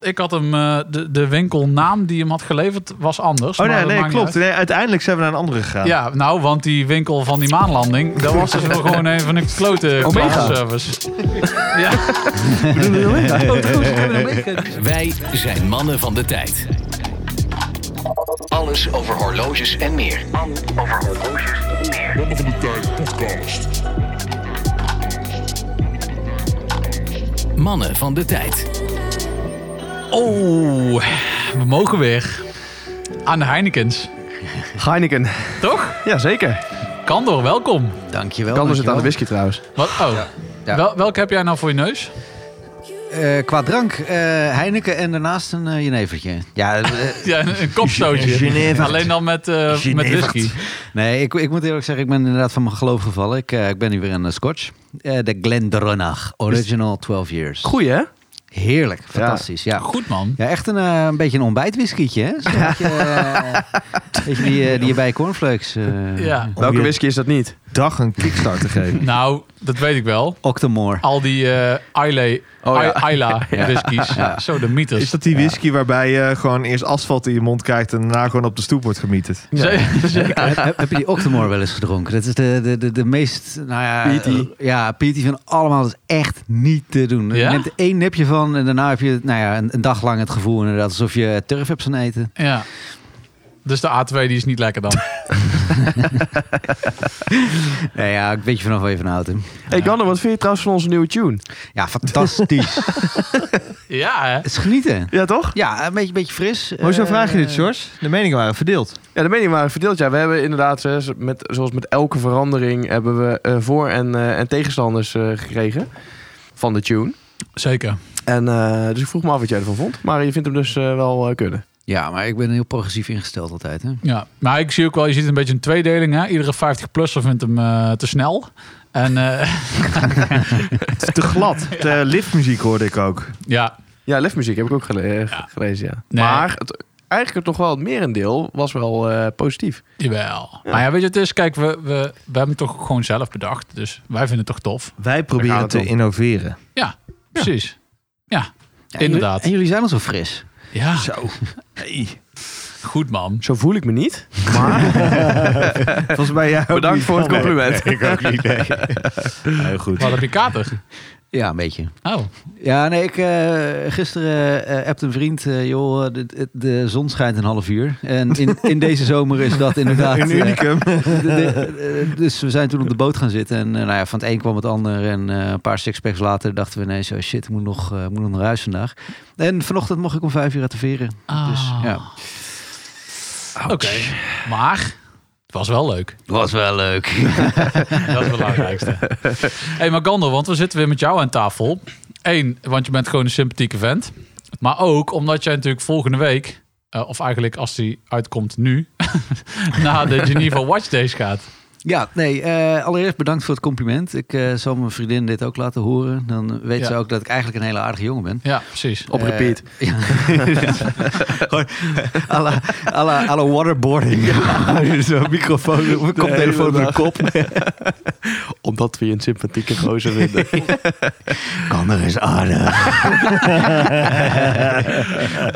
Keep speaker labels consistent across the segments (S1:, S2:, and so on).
S1: ik had hem, eh, de, de winkelnaam die hem had geleverd was anders.
S2: Oh
S1: maar
S2: nee,
S1: dat
S2: nee
S1: maakt niet
S2: klopt. Nee, uiteindelijk zijn we naar een andere gegaan.
S1: uit. Ja, nou, want die winkel van die maanlanding, dat was dus wel gewoon even een klote
S3: Omega.
S1: service. ja.
S4: Wij zijn mannen van de tijd. Alles over horloges en meer. Over horloges en meer. Mannen van de tijd.
S1: Oh, we mogen weer. Aan de Heinekens.
S3: Heineken.
S1: Toch?
S2: Ja, zeker.
S1: Kandor, welkom.
S5: Dankjewel.
S3: Kan dus het aan
S5: dankjewel.
S3: de whisky trouwens.
S1: Wat, oh,
S5: ja.
S1: Wel, welke heb jij nou voor je neus?
S5: Eh, qua drank, eh, Heineken en daarnaast een eh, jenevertje. Ja, eh,
S1: Ja, een, een kopstootje.
S2: Geneverd.
S1: Alleen dan met, eh, met
S2: Geneverd.
S1: whisky.
S5: nee, ik, ik moet eerlijk zeggen, ik ben inderdaad van mijn geloof gevallen. Ik, eh, ik ben nu weer aan de scotch. Eh, de Glendronach, original 12 years.
S3: Goeie hè?
S5: Heerlijk, fantastisch. Ja.
S1: Goed man.
S5: Ja, echt een, eh, een beetje een ontbijtwhiskietje, hè? Zo'n beetje, eh, weet je, die, eh, die je bij cornflakes... eh
S1: Ja.
S3: Welke
S2: je-
S3: whisky is dat niet?
S2: Dag een kickstart te geven.
S1: Nou, dat weet ik wel.
S5: Octomore.
S1: Al die eh Islay,
S3: Oh, ja.
S1: I- Isla whiskies. Zo de mythes.
S2: Is dat die whisky waarbij je gewoon eerst asfalt in je mond krijgt en daarna gewoon op de stoep wordt gemieterd?
S1: Ze- ze-
S5: Ja, heb, heb je die Octomore wel eens gedronken? Dat is de, de, de, de meest, nou ja...
S3: Peaty.
S5: eh, Ja, Peaty van allemaal. Dat is echt niet te doen.
S1: Ja?
S5: Je neemt er één nipje van en daarna heb je nou ja, een, een dag lang het gevoel inderdaad alsof je turf hebt gaan eten.
S1: ja. Dus de A2 die is niet lekker dan.
S5: Nee, ja, ik weet je vanaf waar je van houdt. hè.
S3: Hey Gander, wat vind je trouwens van onze nieuwe tune?
S5: Ja, fantastisch. het
S1: Ja, hè?
S5: is genieten.
S3: Ja toch?
S5: Ja, een beetje, beetje fris.
S2: Hoezo
S5: Eh,
S2: vraag je dit, George? De meningen waren verdeeld.
S3: Ja, de meningen waren verdeeld. Ja, we hebben inderdaad, eh, zo- met, zoals met elke verandering, hebben we eh, voor- en, eh, en tegenstanders eh, gekregen van de tune.
S1: Zeker.
S3: En, eh, dus ik vroeg me af wat jij ervan vond. Maar je vindt hem dus eh, wel eh, kunnen.
S5: Ja, maar ik ben heel progressief ingesteld altijd. Hè?
S1: Ja, maar ik zie ook wel, je ziet een beetje een tweedeling. Hè? Iedere 50-plusser vindt hem eh, te snel. En eh,
S2: Te glad. De liftmuziek hoorde ik ook.
S1: ja,
S3: Ja, lefmuziek heb ik ook gele- eh,
S1: Ja.
S3: gelezen, ja.
S1: Nee.
S3: Maar het, eigenlijk toch wel het merendeel was wel eh, positief.
S1: jawel. Maar ja, weet je, het is, kijk, we, we, we hebben het toch gewoon zelf bedacht. Dus wij vinden het toch tof.
S2: Wij
S3: Daar
S2: proberen
S3: gaat
S2: te
S3: het om.
S2: innoveren.
S1: Precies. Ja,
S5: Ja,
S1: Inderdaad.
S5: En jullie zijn al zo fris.
S1: ja.
S2: Zo.
S1: Goed man.
S3: Zo voel ik me niet.
S2: Volgens mij jij ook
S3: Bedankt
S2: niet.
S3: voor het compliment.
S6: Ik ook niet. nee.
S2: Heel
S1: Wat
S2: goed.
S1: heb je kater?
S5: Ja, een beetje.
S1: Oh,
S5: Ja, nee, ik eh, gisteren eh appte een vriend, eh, joh, eh, de, de, de zon schijnt een half uur. En in, in deze zomer is dat inderdaad...
S2: Een
S5: eh,
S2: unicum.
S5: de- de- eh, dus we zijn toen op de boot gaan zitten. En eh, nou ja, van het een kwam het ander. En eh, een paar sixpacks later dachten we ineens, oh shit, ik moet nog, eh, moet nog naar huis vandaag. En vanochtend mocht ik om vijf uur uit de veren. Dus
S1: Ah.
S5: ja.
S1: oké. Maar het was wel leuk.
S5: Was wel leuk.
S1: Dat is het belangrijkste. hey, maar Gander, want we zitten weer met jou aan tafel. Eén, want je bent gewoon een sympathieke vent. Maar ook omdat jij natuurlijk volgende week, eh, of eigenlijk als die uitkomt nu, naar de Geneva Watch Days gaat.
S5: Ja, nee, eh, allereerst bedankt voor het compliment. Ik eh, zal mijn vriendin dit ook laten horen. Dan weet
S1: Ja.
S5: ze ook dat ik eigenlijk een hele aardige jongen ben.
S1: Ja, precies.
S3: Op repeat.
S5: Eh, ja. Gewoon à la- à la- à la waterboarding. Zo'n microfoon, op mijn koptelefoon op de kop.
S3: Omdat we je een sympathieke gozer vinden.
S5: Kan er eens aardig.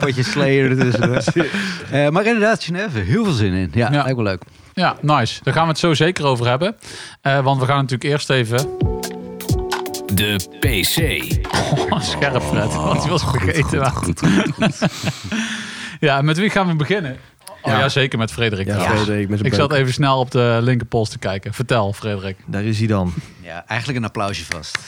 S5: Potje slayer ertussen. Eh, maar inderdaad, Geneve, heel veel zin in. Ja,
S1: Ja.
S5: lijkt wel leuk.
S1: Ja, nice. Daar gaan we het zo zeker over hebben. Eh, want we gaan natuurlijk eerst even...
S4: De PC.
S1: Oh, scherp, Fred. Want die was vergeten. ja, met wie gaan we beginnen? Oh ja, zeker met Frederik.
S2: Ja,
S1: trouwens.
S2: Frederik met zijn
S1: Ik zat
S2: beuk.
S1: even snel op de linkerpols te kijken. Vertel, Frederik.
S2: Daar is hij dan.
S5: Ja, eigenlijk een applausje vast.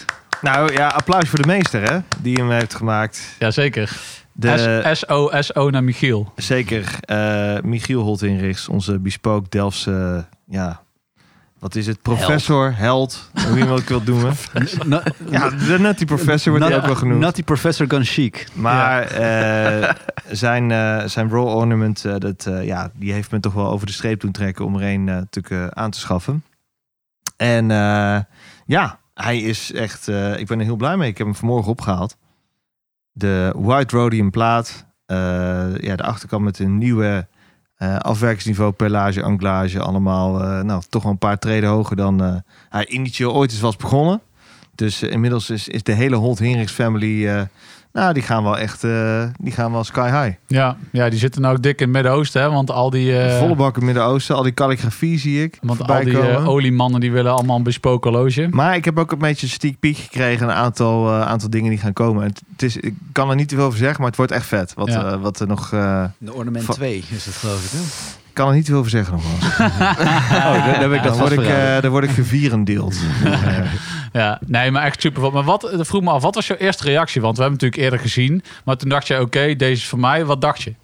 S2: Nou ja, applaus voor de meester hè, die hem heeft gemaakt.
S1: Jazeker.
S2: De,
S1: SOSO naar Michiel.
S2: Zeker eh, Michiel Holtinrichs, onze bespook Delftse, ja, wat is het? Professor, held, hoe je hem ook wilt noemen.
S5: Na-
S2: Ja, de nutty professor wordt hij
S5: Nat-
S2: ook wel genoemd.
S5: Natty Professor Gun Chic.
S2: Maar eh, zijn, eh zijn roll ornament, eh, dat, eh, ja, die heeft men toch wel over de streep doen trekken om er een eh, natuurlijk eh, aan te schaffen. En eh, ja, hij is echt, eh, ik ben er heel blij mee. Ik heb hem vanmorgen opgehaald. De White Rhodium plaat, eh, ja, de achterkant met een nieuwe eh, afwerkingsniveau, perlage, anglage, allemaal eh, nou, toch wel een paar treden hoger dan eh, hij initieel ooit is was begonnen. Dus eh, inmiddels is, is de hele Holt Hinrichs family eh, Nou, die gaan wel echt eh, die gaan wel sky high.
S1: Ja, ja, die zitten nou ook dik in het Midden-Oosten, hè? Want al die, eh,
S2: Volle bakken Midden-Oosten, al die calligrafie zie ik
S1: want al
S2: voorbij
S1: die eh,
S2: komen.
S1: oliemannen die willen allemaal een bespoken loge.
S2: Maar ik heb ook een beetje een sneak peek gekregen. Een aantal, eh, aantal dingen die gaan komen. Het, het is, ik kan er niet te veel over zeggen, maar het wordt echt vet. Wat,
S1: Ja.
S2: eh, wat er nog... eh,
S5: De ornament
S2: Va-
S5: 2 is dat geloof ik. Hè?
S2: ik kan er niet te veel over zeggen nog wel.
S5: Oh, dan heb ik
S2: Dan word ik, eh dan word ik gevierendeeld. Eh,
S1: Ja, nee, maar echt super. Maar wat, eh, vroeg me af, wat was jouw eerste reactie? Want we hebben het natuurlijk eerder gezien. Maar toen dacht je, oké, deze is voor mij. Wat dacht je?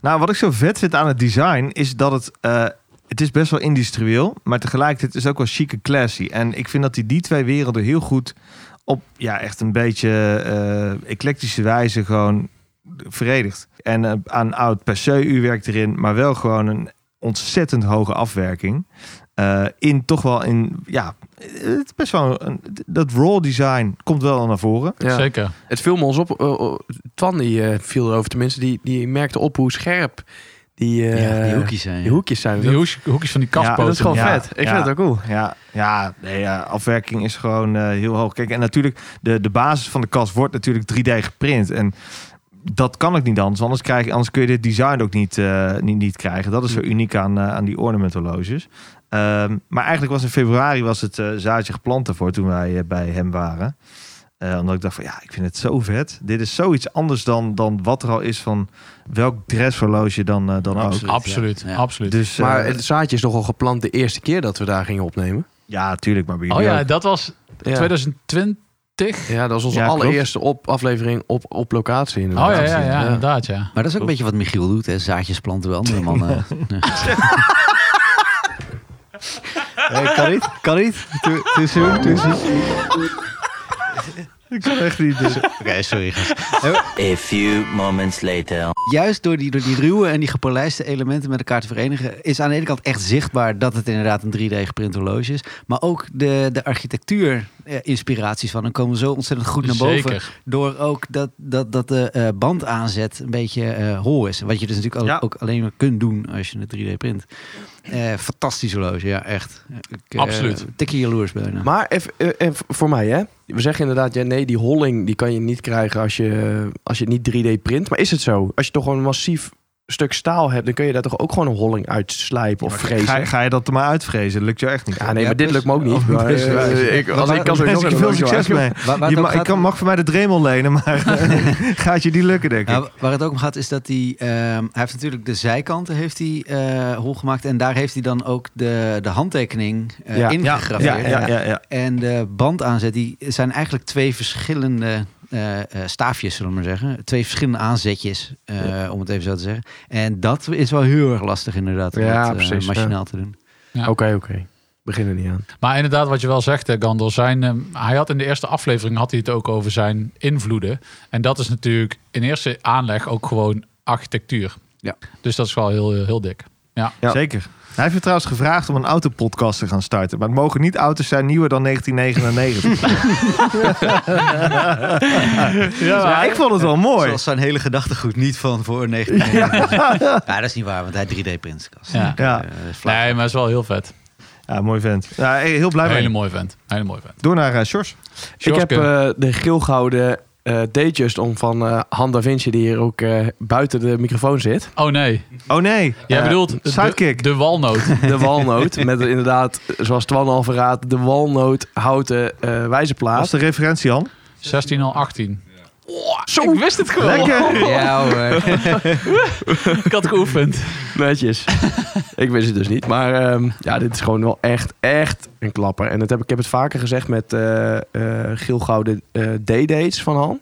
S2: nou, wat ik zo vet vind aan het design... is dat het... eh, het is best wel industrieel, maar tegelijkertijd is het ook wel chic en classy. En ik vind dat die, die twee werelden heel goed op ja, echt een beetje eh, eclectische wijze gewoon verenigd. En eh, aan oud per se uurwerk erin, maar wel gewoon een ontzettend hoge afwerking. Eh, in toch wel in, ja, het is best wel een, dat raw design komt wel naar voren.
S3: Ja.
S1: Zeker.
S3: Het viel me ons op. eh, eh, Twan die eh, viel erover tenminste. Die, die merkte op hoe scherp die, eh,
S5: ja, die hoekjes zijn.
S3: die hoekjes zijn.
S1: Die hoes- hoekjes van die
S2: Ja,
S1: kastpoten.
S3: dat is gewoon
S2: Ja,
S3: vet. Ik
S2: ja.
S3: vind het ook cool.
S2: Ja, ja, nee, ja afwerking is gewoon eh, heel hoog. Kijk, en natuurlijk, de, de basis van de kast wordt natuurlijk 3D geprint. En dat kan ook niet anders. Anders, krijg, je- anders kun je dit design ook niet, eh, niet, niet krijgen. Dat is zo uniek aan, eh, aan die ornamentologes. Ehm, maar eigenlijk was in februari was het eh, zaadje geplant daarvoor toen wij eh, bij hem waren. Eh, omdat ik dacht van ja, ik vind het zo vet. Dit is zoiets anders dan, dan wat er al is van welk dresshorloge dan, eh, dan ook.
S5: Absoluut.
S1: Absoluut,
S5: Ja.
S1: absoluut.
S2: Dus,
S3: Maar
S2: eh,
S3: het zaadje is nogal geplant de eerste keer dat we daar gingen opnemen.
S2: ja, tuurlijk. Maar bij
S1: oh
S2: jullie
S1: ja,
S2: ook.
S1: dat was
S3: Ja,
S1: 2020.
S3: ja dat is onze
S2: Ja, klopt.
S3: allereerste op, aflevering op, op locatie.
S1: Oh ja, ja, ja,
S3: Ja.
S1: inderdaad, ja.
S5: Maar dat is ook een beetje wat Michiel doet. Hè? Zaadjes planten wel andere mannen.
S2: Nee, kan niet. Kan niet. Too, too soon, too soon. Ik kan echt niet. Dus.
S5: Oké, sorry.
S6: A few moments later.
S5: Juist door die, door die ruwe en die gepolijste elementen met elkaar te verenigen, is aan de ene kant echt zichtbaar dat het inderdaad een 3D-geprint horloge is. Maar ook de, de architectuur-inspiraties van hem komen zo ontzettend goed naar boven.
S1: Zeker.
S5: Door ook dat, dat, dat de eh, bandaanzet een beetje eh hol is. Wat je dus natuurlijk al-
S2: Ja.
S5: ook alleen maar kunt doen als je een 3D-print. Eh fantastisch horloge, ja, echt. Ik, eh,
S1: Absoluut.
S5: Tikkie jaloers bijna.
S3: Maar even, eh, even voor mij, hè? We zeggen inderdaad, ja, nee, die holling die kan je niet krijgen als je, eh, als je het niet 3D print. Maar is het zo? Als je toch gewoon een massief stuk staal hebt, dan kun je daar toch ook gewoon een holling uitslijpen of vrezen?
S2: Ga, ga je dat er maar uitvrezen? Dat lukt jou echt niet.
S3: Ja, nee,
S5: Ja,
S3: maar dit
S5: dus-
S3: lukt me ook niet.
S2: Of
S3: Maar,
S2: dus-
S3: eh, ik, als
S5: Maar
S3: ik kan zo
S2: Daar
S3: nog
S2: wens ik
S3: een
S2: je veel
S3: horloge
S2: succes
S3: maken.
S2: mee.
S5: Waar- waar
S2: Je
S5: het
S2: ma-
S5: ook
S2: ik
S5: gaat-
S2: kan, mag voor mij de Dremel lenen, maar gaat je die lukken, denk ik.
S5: Nou, waar het ook om gaat is dat hij... ehm, hij heeft natuurlijk de zijkanten heeft hij, eh, hol gemaakt. En daar heeft hij dan ook de, de handtekening eh
S3: Ja.
S5: ingegraveerd.
S2: ja, ja, ja, ja.
S5: En de bandaanzet, die zijn eigenlijk twee verschillende eh, eh, staafjes, zullen we maar zeggen. Twee verschillende aanzetjes, eh, om het even zo te zeggen. En dat is wel heel erg lastig inderdaad, om
S3: Ja,
S5: dat, eh,
S3: precies,
S5: machinaal te doen.
S1: Ja.
S3: Oké, oké. Begin er niet aan.
S1: Maar inderdaad, wat je wel zegt, eh, Gandalf, zijn, ehm, hij had in de eerste aflevering had hij het ook over zijn invloeden. En dat is natuurlijk in eerste aanleg ook gewoon architectuur.
S5: Ja.
S1: Dus dat is wel heel, heel dik.
S2: Ja. Zeker. Hij heeft me trouwens gevraagd om een autopodcast te gaan starten. Maar het mogen niet auto's zijn nieuwer dan 1999. ja, ik vond het wel mooi.
S5: Zoals zijn hele gedachtegoed, niet van voor 1999. Ja. dat is niet waar, want hij 3D-print.
S1: Ja.
S2: Ja.
S5: Eh,
S1: Nee, maar het is wel heel vet.
S2: Ja, mooi vent. Ja, heel blij
S1: Hele
S2: mee.
S1: mooi vent. Hele mooi vent.
S2: Door naar eh, Sjors.
S3: Ik heb
S1: Sjorske.
S3: eh, de geelgouden eh Datejust om van eh Han Da Vinci, die hier ook eh, buiten de microfoon zit.
S1: Oh nee,
S2: Oh nee.
S1: jij
S3: Eh,
S1: bedoelt de-
S2: sidekick.
S1: de walnoot.
S3: De walnoot, met inderdaad, zoals Twan al verraadt, de walnoot houten eh
S2: Als
S3: wijzerplaat.
S2: de referentie, Han.
S1: 16 al 18.
S3: Zo
S1: Ik wist het gewoon.
S2: Lekker.
S5: Ja hoor.
S1: Ik had geoefend.
S3: netjes. ik wist het dus niet. Maar ehm, ja, dit is gewoon wel echt, echt een klapper. En dat heb, ik- ik heb het vaker gezegd met eh eh, geelgouden eh, D-dates van Han.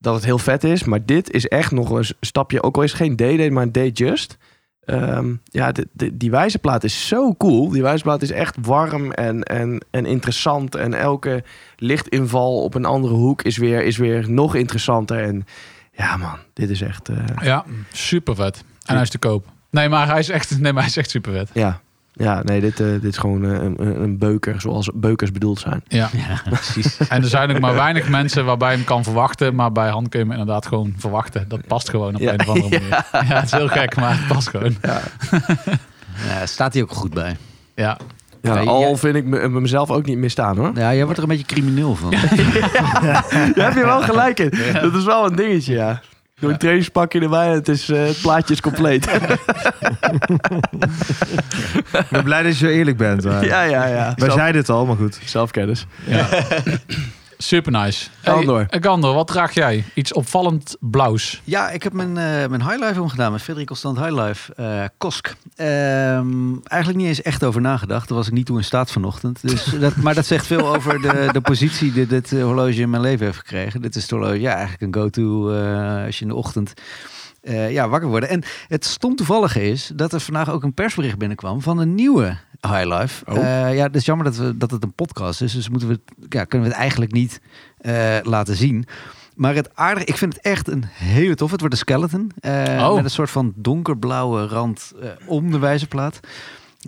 S3: Dat het heel vet is. Maar dit is echt nog een stapje. Ook al is het geen D-date, maar een D-just. Ehm, ja, de, de- die wijzerplaat is zo cool. Die wijzerplaat is echt warm en, en, en interessant. En elke lichtinval op een andere hoek is weer, is weer nog interessanter. En ja, man, dit is echt. eh,
S1: Ja, super vet. En hij is te koop. Nee, maar hij is echt, nee, maar hij is echt super vet.
S3: ja. ja, nee, dit, eh, dit is gewoon eh, een, een een beuker zoals beukers bedoeld zijn.
S1: Ja.
S5: Ja, precies.
S1: En er zijn ook maar weinig mensen waarbij je hem kan verwachten. Maar bij Han kun je hem inderdaad gewoon verwachten. Dat past gewoon op
S3: Ja,
S1: een of andere manier. Ja. het is heel gek, maar het past gewoon.
S5: eh, Ja, staat hij ook goed bij.
S1: Ja.
S5: Ja,
S3: Ja, al
S5: jij-
S3: vind ik me- eh, mezelf ook niet meer staan hoor.
S5: Ja, jij wordt er een beetje crimineel van.
S3: Daar heb je wel gelijk in. Dat is wel een dingetje, ja. Doe een trainingspakje erbij en het, is, eh, het plaatje is compleet.
S2: Ik ben blij dat je zo eerlijk bent. maar-
S3: ja, ja, ja.
S2: Wij
S3: Zelf-
S2: zeiden het al, maar goed.
S3: Zelfkennis.
S1: Super nice.
S3: Gandor.
S1: Hey, eh, Gandor, wat draag jij? Iets opvallend blauws.
S5: Ja, ik heb mijn, eh mijn highlife omgedaan met Frederik Constant Highlife, eh Kosk. Ehm, eigenlijk niet eens echt over nagedacht. Daar was ik niet toe in staat vanochtend. Dus dat, maar dat zegt veel over de, de positie die dit eh, horloge in mijn leven heeft gekregen. Dit is het horloge, ja, eigenlijk een go-to eh, als je in de ochtend eh, ja, wakker wordt. En het stom toevallige is dat er vandaag ook een persbericht binnenkwam van een nieuwe Highlife.
S3: Oh.
S5: Eh, ja, het is jammer dat, we, dat het een podcast is, dus moeten we, het- ja, kunnen we het eigenlijk niet eh, laten zien. Maar het aardige, ik vind het echt een hele tof. Het wordt een skeleton. eh,
S1: Oh.
S5: Met een soort van donkerblauwe rand eh, om de wijzerplaat.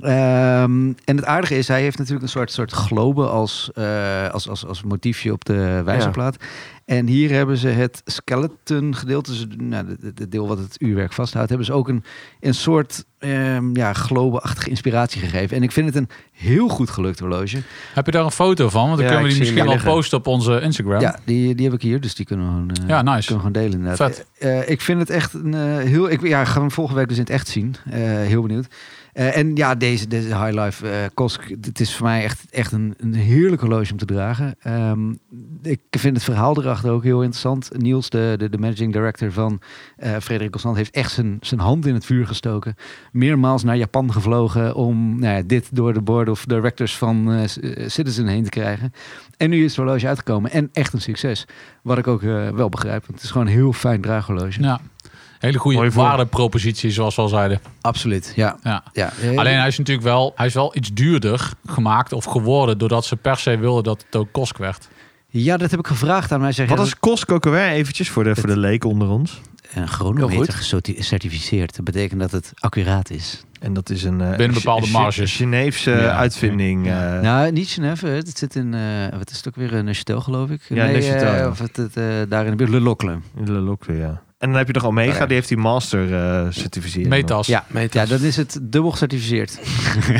S5: Ehm, en het aardige is, hij heeft natuurlijk een soort, soort globe als, eh, als, als, als motiefje op de wijzerplaat. En hier hebben ze het skeleton gedeelte, dus nou, de- de- de deel wat het uurwerk vasthoudt, hebben ze ook een, een soort ehm ja, globe-achtige inspiratie gegeven. En ik vind het een heel goed gelukt horloge.
S1: Heb je daar een foto van? Want dan
S2: Ja,
S1: kunnen we
S2: ik
S1: die
S2: zie
S1: misschien
S2: hem
S1: wel
S2: hier
S1: posten op onze Instagram.
S5: Ja, die, die heb ik hier, dus die kunnen we gewoon, eh,
S1: Ja, nice.
S5: kunnen we gewoon delen inderdaad.
S1: Vet.
S5: Eh, eh, ik vind het echt een eh, heel... Ik ja, ik ga hem volgende week dus in het echt zien. Eh, heel benieuwd. Eh, en ja, deze, deze High Life eh, Kosk, het is voor mij echt, echt een, een heerlijk horloge om te dragen. Ehm, ik vind het verhaal erachter ook heel interessant. Niels, de, de, de managing director van eh Frederik Constant, heeft echt zijn, zijn hand in het vuur gestoken. Meermaals naar Japan gevlogen om nou ja, dit door de board of directors van eh, C- eh, Citizen heen te krijgen. En nu is het horloge uitgekomen en echt een succes. Wat ik ook eh, wel begrijp. Want het is gewoon een heel fijn draaghorloge.
S1: Ja. Hele goede
S2: Mooi voor.
S1: waardepropositie, zoals we al zeiden.
S5: Absoluut, ja.
S1: Ja.
S5: ja.
S1: Alleen hij is natuurlijk wel, hij is wel iets duurder gemaakt of geworden. Doordat ze per se wilden dat het ook kosk werd.
S5: Ja, dat heb ik gevraagd aan mij. Zeggen,
S2: Wat is Costco ook alweer? Eventjes voor de, voor de leken onder ons.
S5: een
S3: Heel goed.
S5: chronometer gecerti- gecertificeerd? Dat betekent dat het accuraat is.
S2: En dat is een... eh,
S1: Binnen bepaalde
S2: een Chi-
S1: marges.
S2: een Geneefse
S1: Ja.
S2: uitvinding. eh,
S5: nou, niet Genève. hè. Het zit in, eh wat is het ook weer, een Neuchâtel geloof ik?
S2: Ja, Neuchâtel,
S5: eh,
S2: ja.
S5: Of het, het, eh, daar in de buurt, Le Locle.
S2: in de Lokwe, Oh ja. En dan heb je nog Omega,
S5: Ja.
S2: die heeft die master eh certificering.
S1: Metas.
S5: Ja, ja, dan is het dubbel gecertificeerd.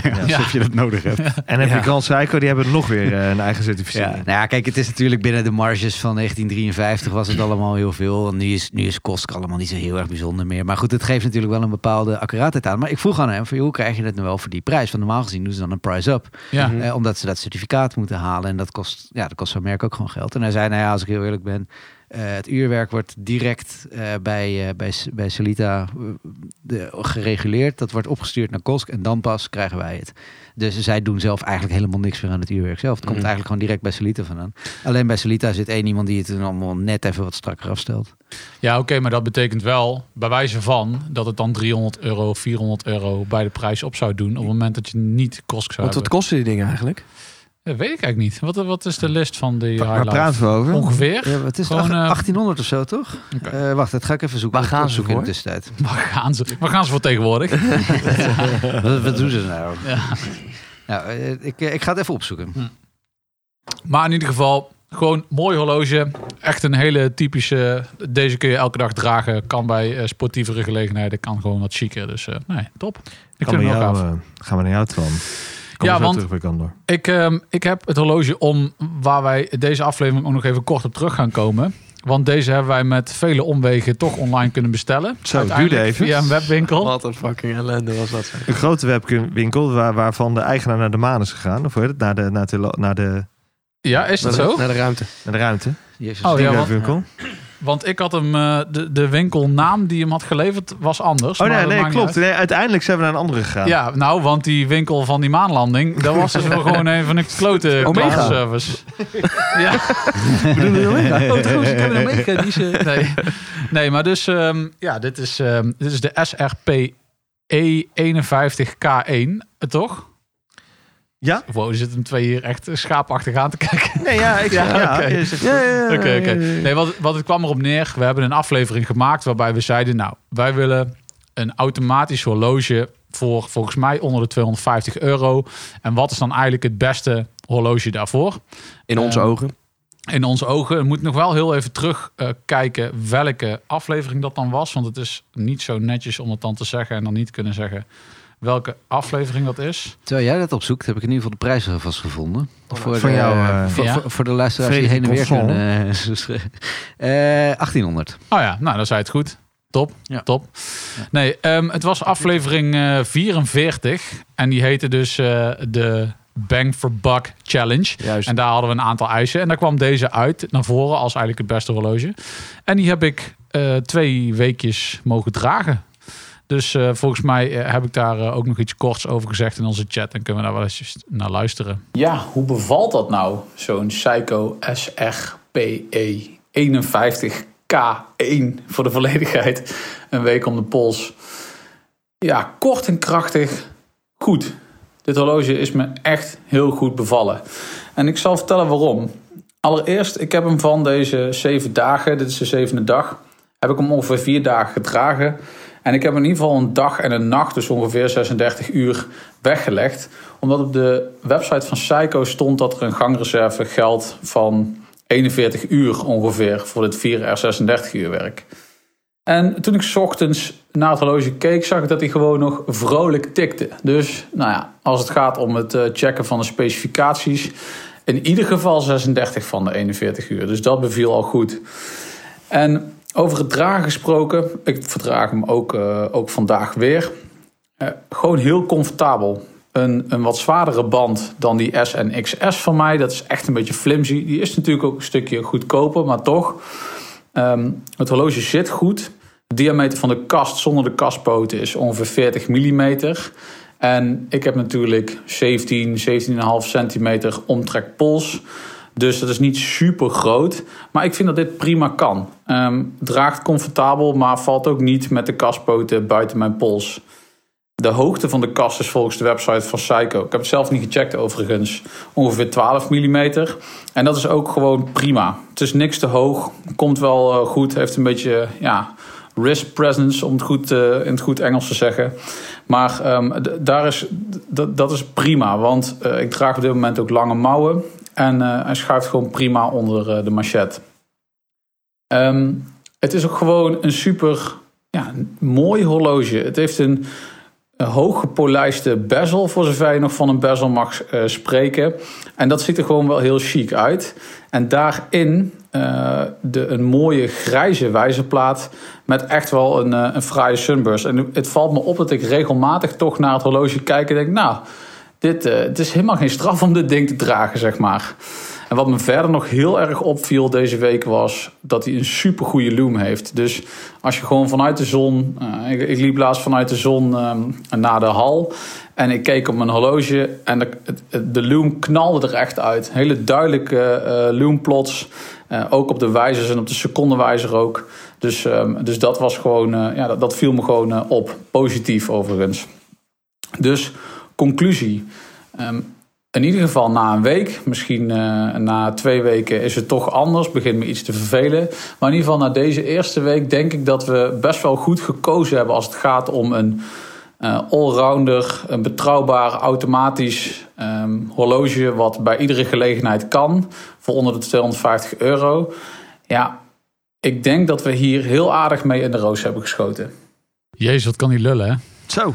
S2: Ja.
S5: Alsof je dat nodig hebt.
S2: En dan heb je Grand Seiko, die hebben nog weer eh, een eigen
S5: Ja,
S2: certificering.
S5: nou ja, kijk, het is natuurlijk binnen de marges van 1953 was het allemaal heel veel. En nu is, nu is Kosk allemaal niet zo heel erg bijzonder meer. Maar goed, het geeft natuurlijk wel een bepaalde accuraatheid aan. Maar ik vroeg aan hem, van, joh, hoe krijg je dat nou wel voor die prijs? Want normaal gezien doen ze dan een price up.
S1: Ja.
S5: Eh, omdat ze dat certificaat moeten halen. En dat kost, ja, dat kost zo'n merk ook gewoon geld. En hij zei, nou ja, als ik heel eerlijk ben... eh, het uurwerk wordt direct eh, bij, eh, bij, S- bij Solita eh, de- gereguleerd. Dat wordt opgestuurd naar Kosk en dan pas krijgen wij het. Dus zij doen zelf eigenlijk helemaal niks meer aan het uurwerk zelf. Het komt
S1: Hm.
S3: Mhm.
S5: eigenlijk gewoon direct bij Solita vandaan. Alleen bij Solita zit één iemand die het dan allemaal net even wat strakker afstelt.
S1: Ja, oké, maar dat betekent wel, bij wijze van, dat het dan 300 euro, 400 euro bij de prijs op zou doen. op het moment dat je niet kost zou
S3: Want wat
S1: hebben.
S3: kosten die dingen eigenlijk?
S1: Dat weet ik eigenlijk niet. Wat, wat is de list van de
S2: Waar
S1: highlight?
S2: praten we over?
S1: Ongeveer.
S5: Ja, het is
S1: Gewoon, eh,
S5: 1800 of zo, toch? Eh, wacht, dat ga ik even zoeken.
S3: Waar
S5: Ik
S3: gaan ze
S5: zoeken in
S3: voor?
S5: de tussentijd.
S1: Waar gaan ze, waar gaan ze voor tegenwoordig?
S5: wat, wat doen ze nou?
S1: Ja.
S5: Nou, eh, ik, eh, ik ga het even opzoeken.
S1: Maar in ieder geval, gewoon mooi horloge. Echt een hele typische. Deze kun je elke dag dragen. Kan bij eh, sportievere gelegenheden. Kan gewoon wat chiquer. Dus eh, nee, top. Ik
S2: Gaan,
S1: vind
S2: we
S1: hem ook
S2: jou,
S1: gaaf.
S2: eh, gaan we naar jou, Twan. Kom
S1: Ja,
S2: ja,
S1: want-
S2: terug bij Kandor.
S1: Ik, ehm, ik heb het horloge om waar wij deze aflevering ook nog even kort op terug gaan komen. Want deze hebben wij met vele omwegen toch online kunnen bestellen.
S2: Zo,
S1: Uiteindelijk
S2: duurde even.
S1: Via een webwinkel.
S3: Wat een fucking ellende was dat. zeg.
S2: Een grote webwinkel waar, waarvan de eigenaar naar de maan is gegaan. Of hoe heet het? Naar de, naar de, naar de,
S1: Ja, is dat
S3: Naar de-
S1: zo?
S3: Naar de ruimte.
S2: naar de ruimte.
S5: Jezus,
S1: Oh,
S5: die
S1: ja,
S2: Die
S1: want-
S2: webwinkel.
S1: Want ik had hem, eh, de, de winkelnaam die hem had geleverd was anders.
S2: Oh
S1: maar
S2: nee,
S1: dat
S2: nee
S1: maakt niet
S2: klopt. Nee, uiteindelijk zijn we naar een andere gegaan.
S1: Ja, nou, want die winkel van die maanlanding, dat was dus wel gewoon een van de klote
S3: Omega.
S1: service. ja.
S3: Bedoel je Omega?
S1: Oh, trouwens, ik heb een Omega, die is, eh, Nee. nee, maar dus, ehm, ja, dit is, ehm, dit is de SRP E E51K1, eh, toch?
S2: Ja.
S1: Wow, zitten hem twee hier echt schaapachtig aan te kijken.
S2: Nee, ja, ik ja,
S1: oké.
S2: je zegt-
S3: Ja, ja,
S1: Oké,
S3: ja, ja,
S1: oké.
S3: ja, ja.
S1: Nee, wat, wat het kwam erop neer. We hebben een aflevering gemaakt waarbij we zeiden... nou, wij willen een automatisch horloge voor volgens mij onder de 250 euro. En wat is dan eigenlijk het beste horloge daarvoor?
S3: In onze
S1: Ehm,
S3: ogen.
S1: In onze ogen. We moeten nog wel heel even terugkijken kijken welke aflevering dat dan was. Want het is niet zo netjes om het dan te zeggen en dan niet te kunnen zeggen... welke aflevering dat is.
S5: Terwijl jij dat opzoekt, heb ik in ieder geval de prijs alvast gevonden. Voor
S2: Van
S5: de,
S2: jou, eh,
S5: voor,
S1: Ja.
S5: voor, voor de luisteraars die heen
S2: Frederik
S5: en
S2: Bosson.
S5: weer kunnen. eh, zo schrijven. Eh, 1800.
S1: Oh ja, nou, dan zei het goed. Top,
S5: Ja.
S1: top. Nee, ehm, het was aflevering eh, 44. En die heette dus eh, de Bang for Buck Challenge.
S3: Juist.
S1: En daar hadden we een aantal eisen. En daar kwam deze uit naar voren als eigenlijk het beste horloge. En die heb ik eh, twee weekjes mogen dragen. Dus eh, volgens mij eh, heb ik daar eh, ook nog iets korts over gezegd in onze chat. En kunnen we daar wel eens naar luisteren. Ja, hoe bevalt dat nou? Zo'n Psycho SRPE 51K1 voor de volledigheid. Een week om de pols. Ja, kort en krachtig. Goed. Dit horloge is me echt heel goed bevallen. En ik zal vertellen waarom. Allereerst, ik heb hem van deze zeven dagen, dit is de zevende dag, heb ik hem ongeveer vier dagen gedragen. En ik heb in ieder geval een dag en een nacht, dus ongeveer 36 uur, weggelegd. Omdat op de website van Seiko stond dat er een gangreserve geldt van 41 uur ongeveer voor dit 4R36 uur werk. En toen ik 's ochtends naar het horloge keek, zag ik dat hij gewoon nog vrolijk tikte. Dus, nou ja, als het gaat om het eh, checken van de specificaties, in ieder geval 36 van de 41 uur. Dus dat beviel al goed. En over het dragen gesproken, ik verdraag hem ook, eh, ook vandaag weer. Eh, gewoon heel comfortabel. Een, een wat zwaardere band dan die S en XS van mij. Dat is echt een beetje flimsy. Die is natuurlijk ook een stukje goedkoper, maar toch. Ehm, het horloge zit goed. De diameter van de kast zonder de kastpoten is ongeveer 40 mm. En ik heb natuurlijk 17, 17,5 centimeter omtrek pols. Dus dat is niet super groot. Maar ik vind dat dit prima kan. Ehm, draagt comfortabel, maar valt ook niet met de kastpoten buiten mijn pols. De hoogte van de kast is volgens de website van Seiko. Ik heb het zelf niet gecheckt overigens. Ongeveer 12 mm. En dat is ook gewoon prima. Het is niks te hoog. Komt wel eh, goed. Heeft een beetje eh, ja, wrist presence, om het goed, eh, in het goed Engels te zeggen. Maar ehm, d- daar is, d- dat is prima. Want eh, ik draag op dit moment ook lange mouwen. En eh, hij schuift gewoon prima onder eh, de machet. Ehm, het is ook gewoon een super ja, een mooi horloge. Het heeft een een hooggepolijste bezel, voor zover je nog van een bezel mag eh, spreken. En dat ziet er gewoon wel heel chic uit. En daarin eh, de, een mooie grijze wijzerplaat met echt wel een, eh, een fraaie sunburst. En het valt me op dat ik regelmatig toch naar het horloge kijk en denk... nou, dit, eh, het is helemaal geen straf om dit ding te dragen, zeg maar. En wat me verder nog heel erg opviel deze week was dat hij een super goede loom heeft. Dus als je gewoon vanuit de zon. eh, ik, ik liep laatst vanuit de zon ehm, naar de hal. En ik keek op mijn horloge. En de, het- het- de loom knalde er echt uit. Hele duidelijke eh loomplots. Eh, ook op de wijzers en op de secondenwijzer ook. Dus, ehm, dus dat was gewoon. eh, ja, dat, dat viel me gewoon eh, op. Positief overigens. Dus conclusie. Ehm, in ieder geval na een week, misschien eh, na twee weken is het toch anders, begint me iets te vervelen. Maar in ieder geval na deze eerste week denk ik dat we best wel goed gekozen hebben als het gaat om een eh allrounder, een betrouwbaar automatisch ehm, horloge wat bij iedere gelegenheid kan voor onder de 250 euro. Ja, ik denk dat we hier heel aardig mee in de roos hebben geschoten. Jezus, wat kan die lullen hè?
S2: Zo.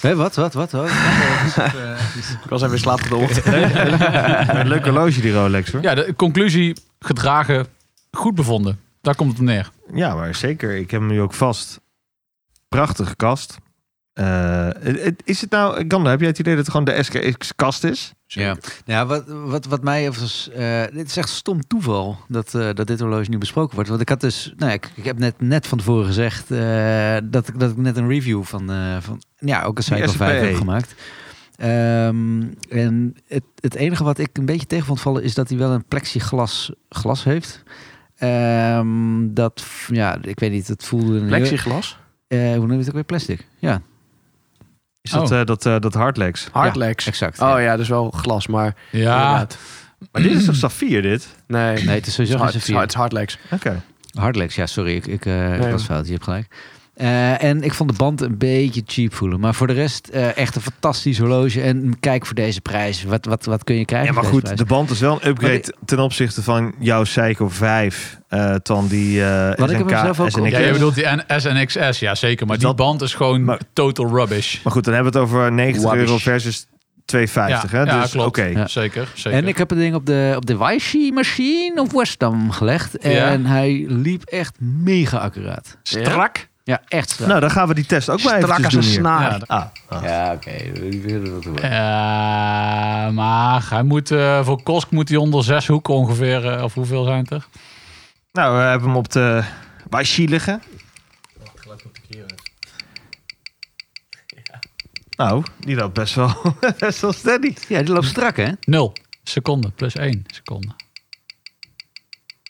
S5: Hé, wat, wat, wat? wat?
S3: Ik was even in slaap gedoord.
S2: Een leuk horloge die Rolex hoor.
S1: Ja, de conclusie, gedragen, goed bevonden. Daar komt het op neer.
S2: Ja, maar zeker. Ik heb hem nu ook vast. Prachtige kast. Eh, het- het- is het nou, Ganda, heb jij het idee dat het gewoon de SKX-kast is?
S5: Ja, Nou ja wat, wat, wat mij even. eh dit is echt stom toeval dat, eh, dat dit horloge nu besproken wordt. Want ik had dus. Nou, ja, ik, ik heb net, net van tevoren gezegd. eh, dat, ik, dat ik net een review van. eh, van ja, ook
S2: Die
S5: een Cycle 5
S2: SPA.
S5: heb gemaakt. Ehm, en het, het enige wat ik een beetje tegen vond vallen. is dat hij wel een plexiglas glas heeft. Ehm, dat. Ja, ik weet niet. Het voelde. een heel-
S3: Plexiglas.
S5: eh, hoe noem je het ook weer? Plastic. Ja,
S2: Is dat,
S1: Oh.
S2: eh, dat, eh, dat hardlegs?
S3: Hardlegs.
S5: exact. ja.
S3: Oh ja, dus wel glas, maar inderdaad.
S2: Maar dit is toch saffier, dit?
S3: Nee,
S5: Nee, het is
S3: het is
S5: sowieso
S3: hard-
S5: geen
S3: het is
S5: saffier.
S3: hardlegs.
S2: Oké.
S5: Hardlex, ja, sorry. Ik, ik, eh, ik
S3: Nee.
S5: was fout. Je hebt gelijk. Eh, en ik vond de band een beetje cheap voelen. Maar voor de rest eh, echt een fantastisch horloge. En kijk voor deze prijs. Wat, wat, wat kun je krijgen?
S2: Ja, maar
S5: voor deze
S2: goed,
S5: prijs?
S2: de band is wel een
S5: Maar
S2: upgrade ten opzichte van jouw Seiko 5, eh Tan, die eh
S5: Wat ik
S2: SNK,
S5: hem zelf ook
S2: SNK.
S5: Ik-
S1: Ja, jij bedoelt die N- SNXS, ja zeker. Maar
S2: Dus
S1: die
S2: dat-
S1: band is gewoon
S2: maar-
S1: total rubbish.
S2: Maar goed, dan hebben we het over 90
S3: Wabbish.
S2: euro versus 250.
S1: Ja,
S2: hè?
S1: ja,
S2: dus oké.
S1: klopt.
S5: Ja.
S1: Zeker, zeker.
S5: En ik heb het ding op de, op de Waishi machine op Westham gelegd.
S1: Ja.
S5: En hij liep echt mega accuraat.
S1: Strak.
S5: Ja, echt strak.
S2: Nou, dan gaan we die test ook maar
S3: Strak
S2: eventjes
S3: als
S2: doen
S3: een
S2: hier.
S3: snaar.
S1: Ja,
S2: Ah,
S5: ja, oké. Ik weet het wel.
S1: Eh, maar hij moet, eh, voor Kosk moet hij onder zes hoeken ongeveer, eh, of hoeveel zijn het er?
S2: nou, we hebben hem op de Waishi liggen. Nou, die loopt best wel, best wel steady.
S5: Ja, die loopt strak, hè?
S1: Nul seconden, plus één seconde.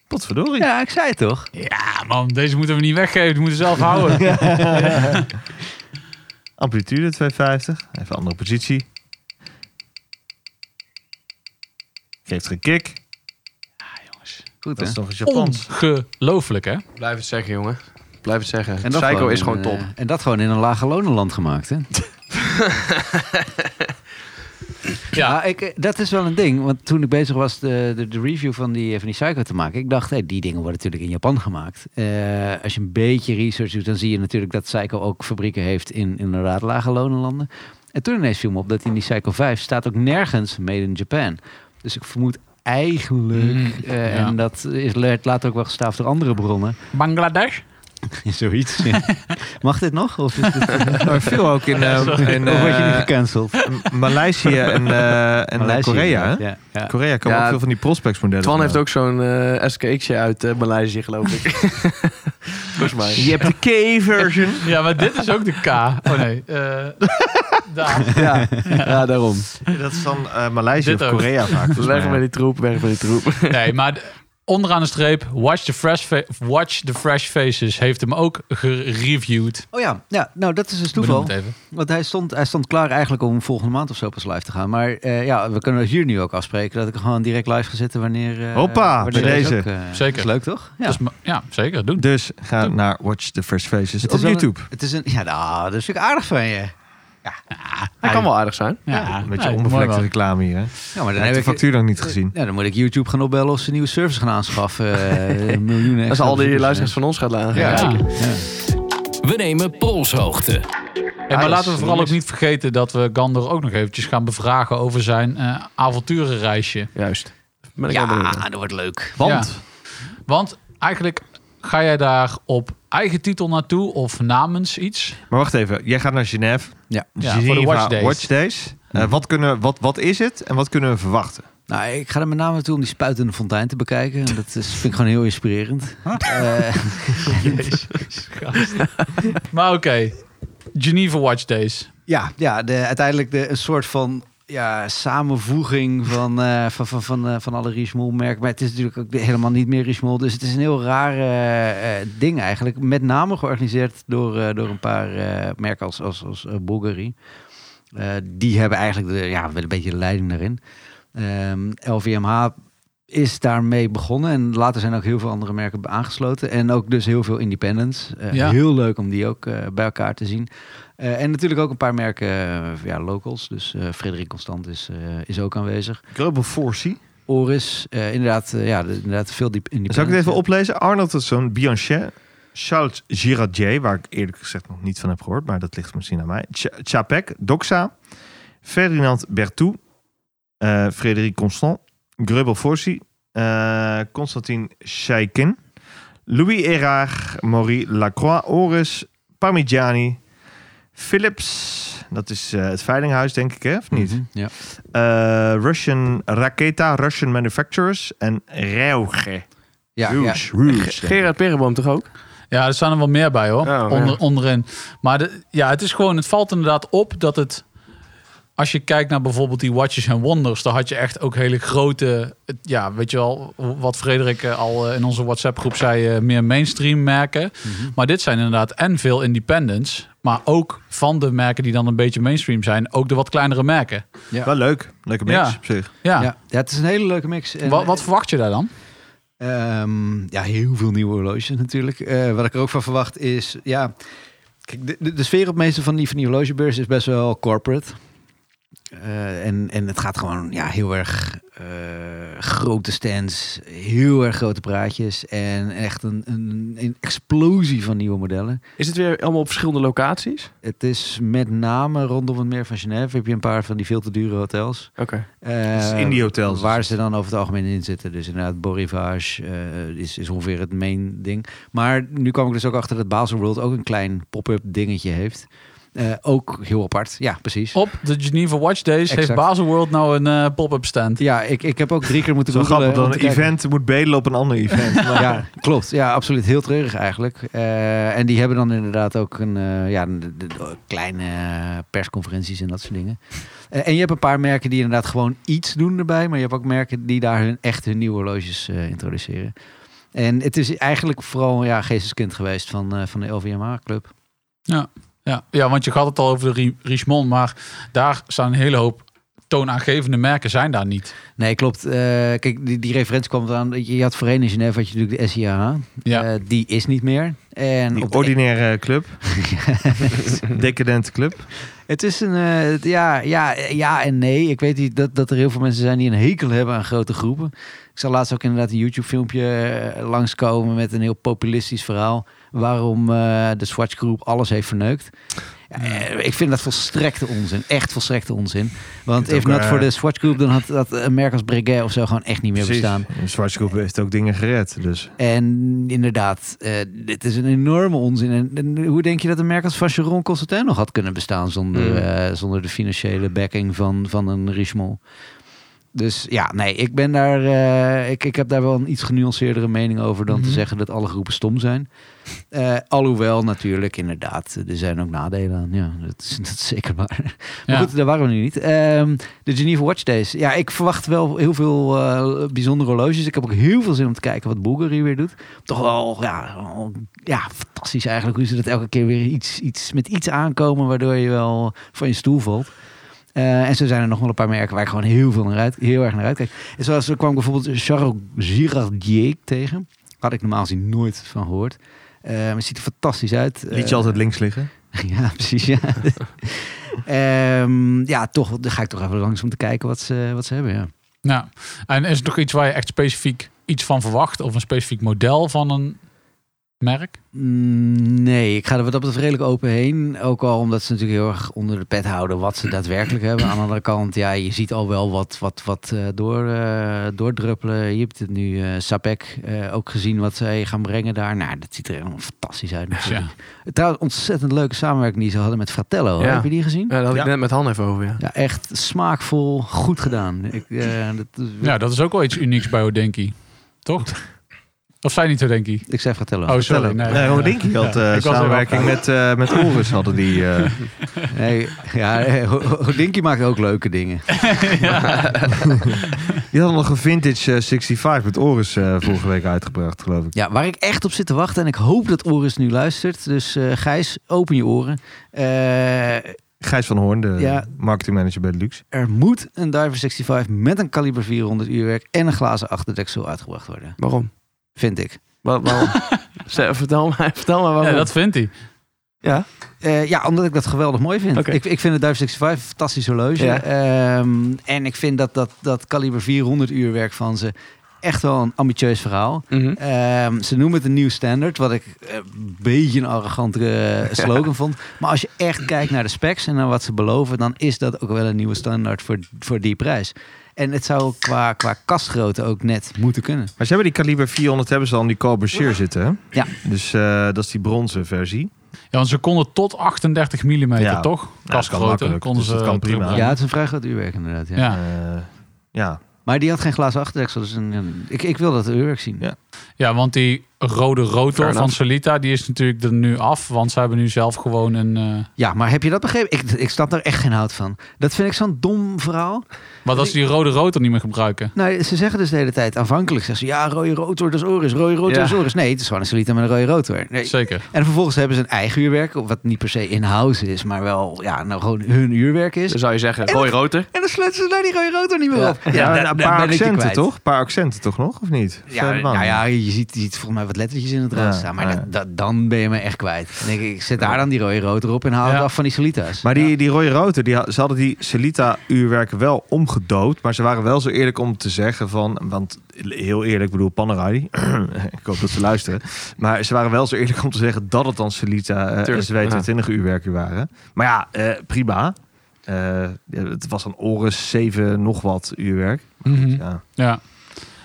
S2: Potverdorie.
S5: Ja, ik zei het toch?
S1: Ja man, deze moeten we niet weggeven, die moeten we zelf houden.
S2: Amplitude 250. Even andere positie. Geeft er een kick.
S5: Goed,
S2: Dat
S5: hè?
S2: is toch een Japans.
S1: Ongelooflijk hè?
S3: Blijf het zeggen, jongen. Blijf het zeggen.
S5: dat
S3: Psycho is gewoon
S5: in,
S3: top.
S5: eh, en dat gewoon in een lage lonenland gemaakt, hè?
S1: Ja.
S5: Maar ik, eh, dat is wel een ding. Want toen ik bezig was eh, de, de, de review van die, eh, van die Psycho te maken... ik dacht, hé, die dingen worden natuurlijk in Japan gemaakt. Eh, als je een beetje research doet, dan zie je natuurlijk dat Psycho ook fabrieken heeft... in inderdaad lage lonenlanden. En toen ineens viel me op dat in die Psycho 5 staat ook nergens Made in Japan. Dus ik vermoed eigenlijk...
S3: Hmm,
S1: Mm,
S5: eh,
S1: ja.
S5: en dat is later ook wel gestaafd door andere bronnen...
S1: Bangladesh?
S5: Zoiets. ja. Mag dit nog? Of is dit,
S2: Maar veel ook in, eh, in
S5: of word je nu
S2: eh,
S5: gecanceld?
S2: Maleisië en, eh, en
S5: Maleisië,
S2: Korea. hè?
S5: Ja, ja.
S2: Korea kan
S3: Ja,
S2: ook veel van die prospects modellen.
S3: Twan heeft ook zo'n eh SKX'je uit eh, Maleisië, geloof ik. Volgens mij.
S2: Je hebt de K-version.
S1: Ja, maar dit is ook de K. Oh nee. eh, daar.
S3: Ja, ja daarom.
S2: Dat is dan eh, Maleisië
S1: Dit
S2: of
S1: ook.
S2: Korea vaak. volgens
S3: Weg
S2: mij.
S3: met die troep, weg met die troep.
S1: Nee, maar de- onderaan de streep, Watch the Fresh, Fa- Watch the Fresh Faces heeft hem ook gereviewd.
S5: Oh ja, ja, nou dat is dus
S1: Benoem
S5: toeval.
S1: het even.
S5: Want hij stond, hij stond klaar eigenlijk om volgende maand of zo pas live te gaan. Maar eh, ja, we kunnen hier nu ook afspreken dat ik gewoon direct live ga zitten wanneer... eh,
S2: Hoppa,
S5: wanneer
S2: bij deze.
S5: ook, eh,
S1: Zeker.
S5: is leuk toch? Ja.
S1: Dus ma- ja, zeker. Doen.
S2: Dus ga naar Watch the First Faces
S5: Het
S2: op
S5: is wel een-
S2: YouTube.
S5: het is een, ja, nou, dat is ik aardig van je.
S3: Hij kan wel aardig zijn.
S1: Ja,
S2: Met je
S1: Ah, nee, mooi
S2: onbevlekte
S1: man.
S2: reclame hier. Hè?
S5: Ja, maar dan,
S2: Hij heeft
S5: heb
S2: de
S5: ik,
S2: factuur nog niet gezien.
S5: ja, dan moet ik YouTube gaan opbellen of ze een nieuwe service gaan aanschaffen. eh, miljoenen eh,
S3: Als
S5: extra
S3: al die
S5: bezoekers.
S3: luisteraars van ons gaat laten.
S1: Ja.
S7: We nemen polshoogte.
S1: Hey, maar
S3: dat
S1: laten we
S3: is
S1: vooral ook
S3: niks.
S1: niet vergeten dat we Gander ook nog eventjes gaan bevragen over zijn eh, avonturenreisje.
S3: Juist. Ben ik wel benieuwd naar.
S5: Ja, dat wordt leuk.
S1: Want? Want eigenlijk ga jij daar op eigen titel naartoe of namens iets?
S2: Maar wacht even, jij gaat naar Genève.
S5: Ja.
S1: Ja, voor de
S2: Geneva
S1: Watch Days.
S2: Watch Days. Eh, wat, kunnen, we- wat, wat is het en wat kunnen we verwachten?
S5: Nou, ik ga er met name naartoe om die spuitende fontein te bekijken. En Dat is, vind ik gewoon heel inspirerend. Eh,
S1: Maar oké, Geneva Watch Days.
S5: ja, ja de, uiteindelijk de, een soort van ja, samenvoeging van, eh, van, van, van, eh, van alle Richemont-merken. Maar het is natuurlijk ook de- helemaal niet meer Richemont. Dus het is een heel raar eh, eh, ding eigenlijk. Met name georganiseerd door, eh, door een paar eh, merken als, als, als eh, Bulgari. Eh, die hebben eigenlijk de, ja, wel een beetje de leiding daarin. Ehm, LVMH is daarmee begonnen. En later zijn ook heel veel andere merken aangesloten. En ook dus heel veel independents. Eh,
S1: Ja.
S5: Heel leuk om die ook eh, bij elkaar te zien. Eh, en natuurlijk ook een paar merken, eh, ja, locals. Dus eh Frederik Constant is, eh, is ook aanwezig.
S2: Global 4C.
S5: Oris, eh, inderdaad, eh, ja, de- inderdaad veel diep in die.
S2: Zal ik het even oplezen? Arnold Hudson, Bianchet, Charles Girardier, waar ik eerlijk gezegd nog niet van heb gehoord, maar dat ligt misschien aan mij. Cha- Chapek, Doxa, Ferdinand Bertou, eh Frédéric Constant, Grubel Forsi, eh, Constantin Scheikin, Louis Erard, Maurice Lacroix, Oris, Parmigiani, Philips, dat is eh, het veilinghuis denk ik hè, of niet?
S5: Mhm. Ja.
S2: Eh, Russian Raketa, Russian Manufacturers en Reuge.
S5: Ja, ja.
S2: Huge, huge.
S3: Ge- Gerard Perenboom toch ook?
S1: Ja, er staan er wel meer bij hoor,
S3: Oh, ja.
S1: Onder, onderin. Maar de, ja, het is gewoon, het valt inderdaad op dat het... Als je kijkt naar bijvoorbeeld die Watches and Wonders, daar had je echt ook hele grote, het- ja, weet je wel, wat Frederik eh, al eh, in onze WhatsApp-groep zei, eh, meer mainstream merken.
S3: Mhm.
S1: Maar dit zijn inderdaad en veel independents, maar ook van de merken die dan een beetje mainstream zijn, ook de wat kleinere merken.
S2: Wel leuk. Leuke mix
S1: Ja.
S2: op zich.
S1: Ja.
S5: Ja, ja, het is een hele leuke mix. En,
S1: wat, wat verwacht je daar dan?
S5: Ehm, ja, heel veel nieuwe horloges natuurlijk. Eh, wat ik er ook van verwacht is, ja, Kijk, de, de, de sfeer op meeste van die, van die horlogebeurs is best wel corporate. Eh, en, en het gaat gewoon ja, heel erg eh, grote stands, heel erg grote praatjes en echt een, een, een explosie van nieuwe modellen.
S3: Is het weer allemaal op verschillende locaties?
S5: Het is met name rondom het meer van Genève heb je een paar van die veel te dure hotels.
S3: Oké.
S2: is
S5: Eh,
S2: Dus indie hotels.
S5: Waar ze dan over het algemeen in zitten. Dus inderdaad, Borivage eh, is, is ongeveer het main ding. Maar nu kwam ik dus ook achter dat Basel World ook een klein pop-up dingetje heeft. Eh, ook heel apart. Ja, precies.
S1: Op de Geneva Watch Days heeft
S5: Exact.
S1: Baselworld nou een eh, pop-up stand.
S5: Ja, ik, ik heb ook drie keer moeten
S2: Zo
S5: googlen
S2: grappig
S5: om
S2: dat
S5: te
S2: een
S5: kijken.
S2: event moet bedelen op een ander event.
S5: Ja, klopt. Ja, absoluut. Heel treurig eigenlijk. Eh, en die hebben dan inderdaad ook een, eh, ja, de- de- de- kleine persconferenties en dat soort dingen. Eh, en je hebt een paar merken die inderdaad gewoon iets doen erbij. Maar je hebt ook merken die daar hun, echt hun nieuwe horloges eh, introduceren. En het is eigenlijk vooral ja, geesteskind geweest van, eh, van de LVMH-club.
S1: Ja, ja, want je had het al over de Rie- Richemont, maar daar staan een hele hoop toonaangevende merken zijn daar niet.
S5: Nee, klopt. Eh, kijk, die, die referentie kwam eraan. Je je had voorheen in Genève had je natuurlijk de SIAH.
S1: Ja.
S5: Eh, die is niet meer. En
S2: Die
S5: op de-
S2: ordinaire club. Decadente club.
S5: Het is een eh, het- ja, ja, ja en nee. Ik weet niet dat, dat er heel veel mensen zijn die een hekel hebben aan grote groepen. Ik zal laatst ook inderdaad een YouTube-filmpje eh, langskomen met een heel populistisch verhaal. Waarom eh, de Swatch Groep alles heeft verneukt. Eh, ik vind dat volstrekte onzin. Echt volstrekte onzin. Want
S2: Dit
S5: if
S2: ook,
S5: not
S2: eh,
S5: voor de Swatch Groep, dan had dat een merk als Breguet of zo gewoon echt niet meer bestaan.
S2: De Zwarte Groep heeft ook dingen gered. Dus.
S5: En inderdaad, eh, dit is een enorme onzin. En, en hoe denk je dat een merk als Vacheron Constantin nog had kunnen bestaan zonder,
S3: Mm.
S5: eh, zonder de financiële backing van, van een Richemont? Dus ja, nee, ik ben daar. eh, ik, ik heb daar wel een iets genuanceerdere mening over dan
S1: Mhm.
S5: te zeggen dat alle groepen stom zijn. Eh, alhoewel, natuurlijk, inderdaad, er zijn ook nadelen aan. Ja, dat is, dat is zeker waar. Maar
S1: Ja.
S5: goed, daar waren we nu niet. Ehm, de Geneva Watch Days. Ja, ik verwacht wel heel veel eh, bijzondere horloges. Ik heb ook heel veel zin om te kijken wat Bulgari weer doet. Toch wel, ja, wel- ja fantastisch eigenlijk hoe ze dat elke keer weer iets, iets, met iets aankomen... waardoor je wel van je stoel valt. Eh, en zo zijn er nog wel een paar merken waar ik gewoon heel, veel naar uit, heel erg naar uitkijk. En zoals er kwam ik bijvoorbeeld Charles Girardier tegen. Had ik normaal gezien nooit van gehoord. Eh, maar het ziet er fantastisch uit.
S2: Liet je
S5: Eh,
S2: altijd links liggen?
S5: ja, precies. Ja. Ehm, ja, toch. Dan ga ik toch even langs om te kijken wat ze, wat ze hebben. Ja.
S1: Ja. En is het nog iets waar je echt specifiek iets van verwacht? Of een specifiek model van een merk?
S5: Mm, Nee, ik ga er wat dat betreft redelijk open heen. Ook al omdat ze natuurlijk heel erg onder de pet houden wat ze daadwerkelijk hebben. Aan de andere kant, ja, je ziet al wel wat, wat, wat eh, door, eh, doordruppelen. Je hebt het nu, eh, Sapec, eh, ook gezien wat zij gaan brengen daar. Nou, dat ziet er helemaal fantastisch uit. natuurlijk. Trouwens, ontzettend leuke samenwerking die ze hadden met Fratello. hè?
S3: Ja.
S5: Heb je die gezien?
S3: Ja, daar had ik
S2: Ja.
S3: net met Han even over, ja.
S5: Ja, echt smaakvol, goed gedaan. Ik, eh, dat,
S1: Ja, dat is ook wel iets unieks bij Odenki. Toch? Of zij niet Odenki?
S5: Ik zei Fratello.
S1: Oh, sorry. Nee,
S2: Nee,
S1: ja.
S2: Rodinky had eh,
S1: Ja, ik was er wel
S2: samenwerking
S1: bij.
S2: met, eh met Horus hadden die. eh,
S5: Nee, ja, eh, Ho- Ho- Hodinky maakt ook leuke dingen.
S2: die hadden nog een vintage eh, 65 met Horus eh, vorige week uitgebracht, geloof ik.
S5: Ja, waar ik echt op zit te wachten en ik hoop dat Oris nu luistert. Dus eh, Gijs, open je oren. Eh,
S2: Gijs van Hoorn, de
S5: Ja.
S2: marketingmanager bij Lux.
S5: er moet een Diver 65 met een kaliber 400 uurwerk en een glazen achterdeksel uitgebracht worden.
S3: Waarom?
S5: Vind ik.
S3: Wa- waarom? Zeg, vertel, maar, vertel maar waarom.
S1: Ja, dat vindt hij.
S3: Ja?
S5: Eh, ja, omdat ik dat geweldig mooi vind.
S3: Oké.
S5: Ik, ik vind het Dive 65 een fantastisch horloge.
S3: Ja.
S5: Ehm, en ik vind dat, dat, dat kaliber 400 uurwerk van ze echt wel een ambitieus verhaal.
S3: Mhm.
S5: Ehm, ze noemen het een nieuw standaard, wat ik eh, een beetje een arrogante eh, slogan vond. Maar als je echt kijkt naar de specs en naar wat ze beloven, dan is dat ook wel een nieuwe standaard voor, voor die prijs. En het zou qua, qua kastgrootte ook net moeten kunnen.
S2: Maar ze hebben die kaliber 400 hebben ze al in die Corbusier zitten. Hè?
S5: Ja.
S2: Dus eh, dat is die bronzen versie.
S1: Ja, want ze konden tot 38 mm,
S2: Ja.
S1: toch?
S2: kan
S1: Kastgrootte
S2: makkelijk,
S1: konden
S2: dus
S1: ze
S2: dat kan prima.
S5: Ja,
S1: terugbrengen.
S5: het is een vrij groot uurwerk inderdaad. Ja.
S1: Ja.
S2: Eh, ja.
S5: Maar die had geen glazen achterdeksel. Dus een, ik, ik wil dat uurwerk zien.
S2: Ja.
S1: Ja, want die rode rotor
S3: Fair
S1: van
S3: enough.
S1: Solita, die is natuurlijk er nu af. Want ze hebben nu zelf gewoon een... eh,
S5: Ja, maar heb je dat begrepen? Ik, ik snap daar echt geen hout van. Dat vind ik zo'n dom verhaal.
S1: Wat als ze die rode rotor niet meer gebruiken?
S5: Nou, ze zeggen dus de hele tijd aanvankelijk. Zeggen ze, ja, rode rotor, dat is Oris. Rode rotor,
S3: Ja.
S5: dat is Oris. Nee, het is gewoon een solita met een rode rotor. Nee.
S1: Zeker.
S5: En vervolgens hebben ze een eigen uurwerk. Wat niet per se in-house is, maar wel ja, nou, gewoon hun uurwerk is.
S3: Dan zou je zeggen,
S5: En-
S3: Roy Roter.
S5: En dan sluiten ze daar die rode rotor niet meer op. Oh. Ja,
S2: Dus- Ja,
S5: dat-
S2: nou,
S5: ben
S2: paar
S5: ik je
S2: accenten
S5: kwijt.
S2: toch? Een paar accenten toch nog, of niet? Of
S5: Ja,
S2: helemaal
S5: nou
S2: niet?
S5: ja, je ziet, je ziet volgens mij wat lettertjes in het rood
S2: Ja,
S5: staan. Maar
S2: ja.
S5: dat- dat- dan ben je me echt kwijt. Dan denk ik, ik zet daar dan die rode rood erop en haal
S1: Ja.
S5: het af van die Solita's.
S2: Maar die, die rode roten, die, ha- ze hadden die Celita-uurwerken wel omgedood. Maar ze waren wel zo eerlijk om te zeggen van... Want heel eerlijk, ik bedoel Panerai. ik hoop dat ze luisteren. Maar ze waren wel zo eerlijk om te zeggen dat het dan Celita uh,
S3: Tuurlijk,
S2: SW22-uurwerken waren. Maar ja, eh, prima. Eh, ja, het was een Oris 7 nog wat uurwerk. Ja.
S1: Ja.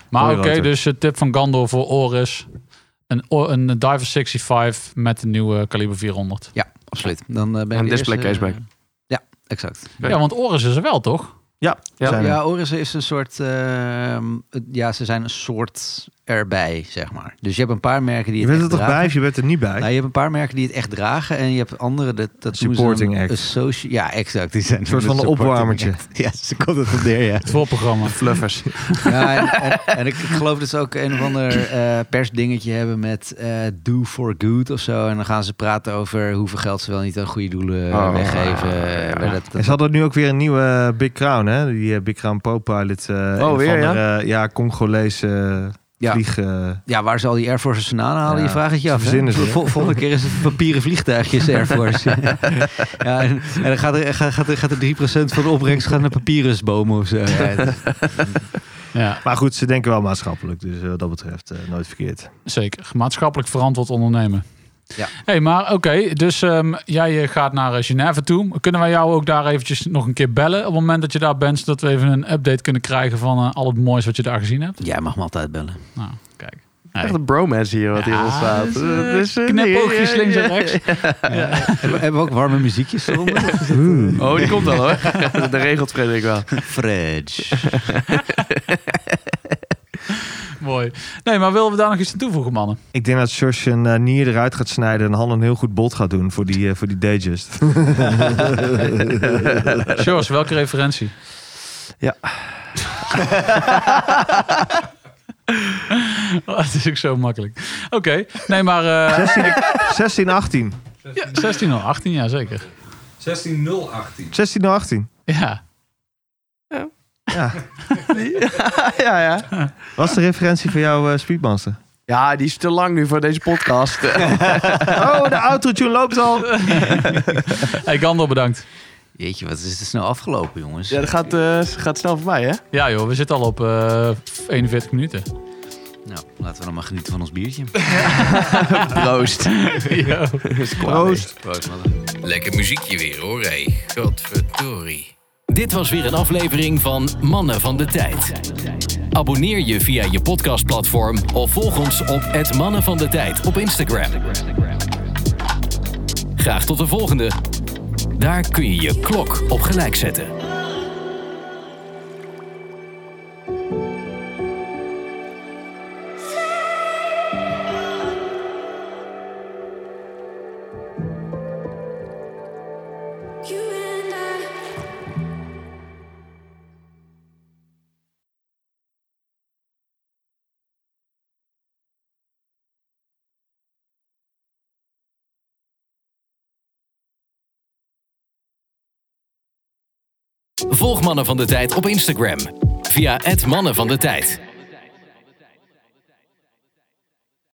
S1: Maar
S2: Mooi
S1: oké,
S2: rotor.
S1: dus eh, tip van Gandor voor Oris. Een, o- een Diver 65 met de nieuwe kaliber 400.
S5: Ja, absoluut. Dan eh, ben je
S3: En
S5: de
S3: display
S5: eerste,
S3: caseback.
S5: eh, Ja, exact. Oh,
S3: Oké.
S1: Ja, want Oris is er wel, toch?
S2: Ja,
S3: Ja.
S2: zijn er.
S5: Ja, Oris is een soort... ehm, het- ja, ze zijn een soort erbij, zeg maar. Dus je hebt een paar merken die
S2: je
S5: het
S2: bent er
S5: echt
S2: toch bij
S5: dragen.
S2: of je bent er niet bij?
S5: Nou, je hebt een paar merken die het echt dragen en je hebt andere dat, dat doen ze
S2: Supporting
S5: dan
S2: act.
S5: associ- ja, exact. Die zijn een
S2: soort van een
S5: supporting
S2: opwarmertje.
S5: act. Ja, ze komt het op neer, ja.
S1: Het voorprogramma.
S3: Fluffers.
S5: Ja, en, en- en ik, ik geloof dat ze ook een of ander eh, persdingetje hebben met eh, Do for Good of zo. En dan gaan ze praten over hoeveel geld ze wel niet aan goede doelen eh,
S3: Oh,
S5: weggeven.
S3: ja.
S5: Maar dat,
S2: En
S5: dat,
S2: ze hadden nu ook weer een nieuwe eh, Big Crown, hè? Die eh, Big Crown Pro-pilot. eh, een of
S3: weer, ja?
S2: andere, eh, ja, Congolese eh,
S5: Ja.
S2: vlieg... eh,
S5: ja, waar ze al die Air Forces vandaan halen,
S2: Ja,
S5: je vraagt het je
S2: ze
S5: af. hè?
S2: verzinnen ze, hè?
S5: Vol- volgende keer is het papieren vliegtuigjes Air Force. ja, en, en dan gaat er, gaat, gaat er, gaat er 3% van de opbrengst gaan naar papierensbomen of zo. Ja, het-
S1: Ja,
S2: Maar goed, ze denken wel maatschappelijk. Dus eh, wat dat betreft eh, nooit verkeerd.
S1: zeker. Maatschappelijk verantwoord ondernemen.
S5: Ja.
S1: hey, maar oké, dus ehm, jij eh, gaat naar eh, Genève toe. Kunnen wij jou ook daar eventjes nog een keer bellen op het moment dat je daar bent, zodat we even een update kunnen krijgen van eh, al het moois wat je daar gezien hebt?
S5: Jij mag me altijd bellen.
S1: Nou, kijk.
S3: Echt een bromance hier wat hier
S1: Ja,
S3: ontstaat.
S1: dus, eh,
S3: Dat is, eh,
S1: Knipoogjes
S3: nee,
S1: links
S3: eh,
S1: en rechts.
S5: Hebben, hebben we ook warme muziekjes eronder?
S3: Oh, die komt al hoor. Dat regelt Frederik wel.
S5: Fridge.
S1: Mooi. Nee, maar willen we daar nog iets aan toevoegen, mannen?
S2: Ik denk dat Sjors een eh, nier eruit gaat snijden en Han een heel goed bot gaat doen voor die, eh, voor die Dayjust.
S1: George, welke referentie?
S2: Ja.
S1: Oh, Het is ook zo makkelijk. Oké, nee, maar eh,
S2: 16, 18.
S1: ja, 16 of 18, ja zeker.
S8: 16-0-18.
S2: 16, 18.
S1: Ja,
S2: Ja.
S3: Ja, ja.
S2: Wat is de referentie voor jouw eh, Speedmaster?
S3: Ja, die is te lang nu voor deze podcast.
S2: Oh, de autotune loopt al.
S1: hey, Gandor bedankt.
S5: Jeetje, wat is het snel afgelopen, jongens.
S3: Ja, dat gaat, eh, gaat snel voorbij, hè?
S1: Ja joh, we zitten al op eh, 41 minuten.
S5: Nou, laten we dan maar genieten van ons biertje.
S3: Proost.
S1: Yo.
S2: Proost.
S5: Proost, mannen.
S7: Lekker muziekje weer hoor, hé. Godverdorie.
S9: Dit was weer een aflevering van Mannen van de Tijd. Abonneer je via je podcastplatform of volg ons op het Mannen van de Tijd op Instagram. Graag tot de volgende. Daar kun je je klok op gelijk zetten.
S10: You and I
S9: Volg Mannen van de Tijd op Instagram via het Mannen van de Tijd.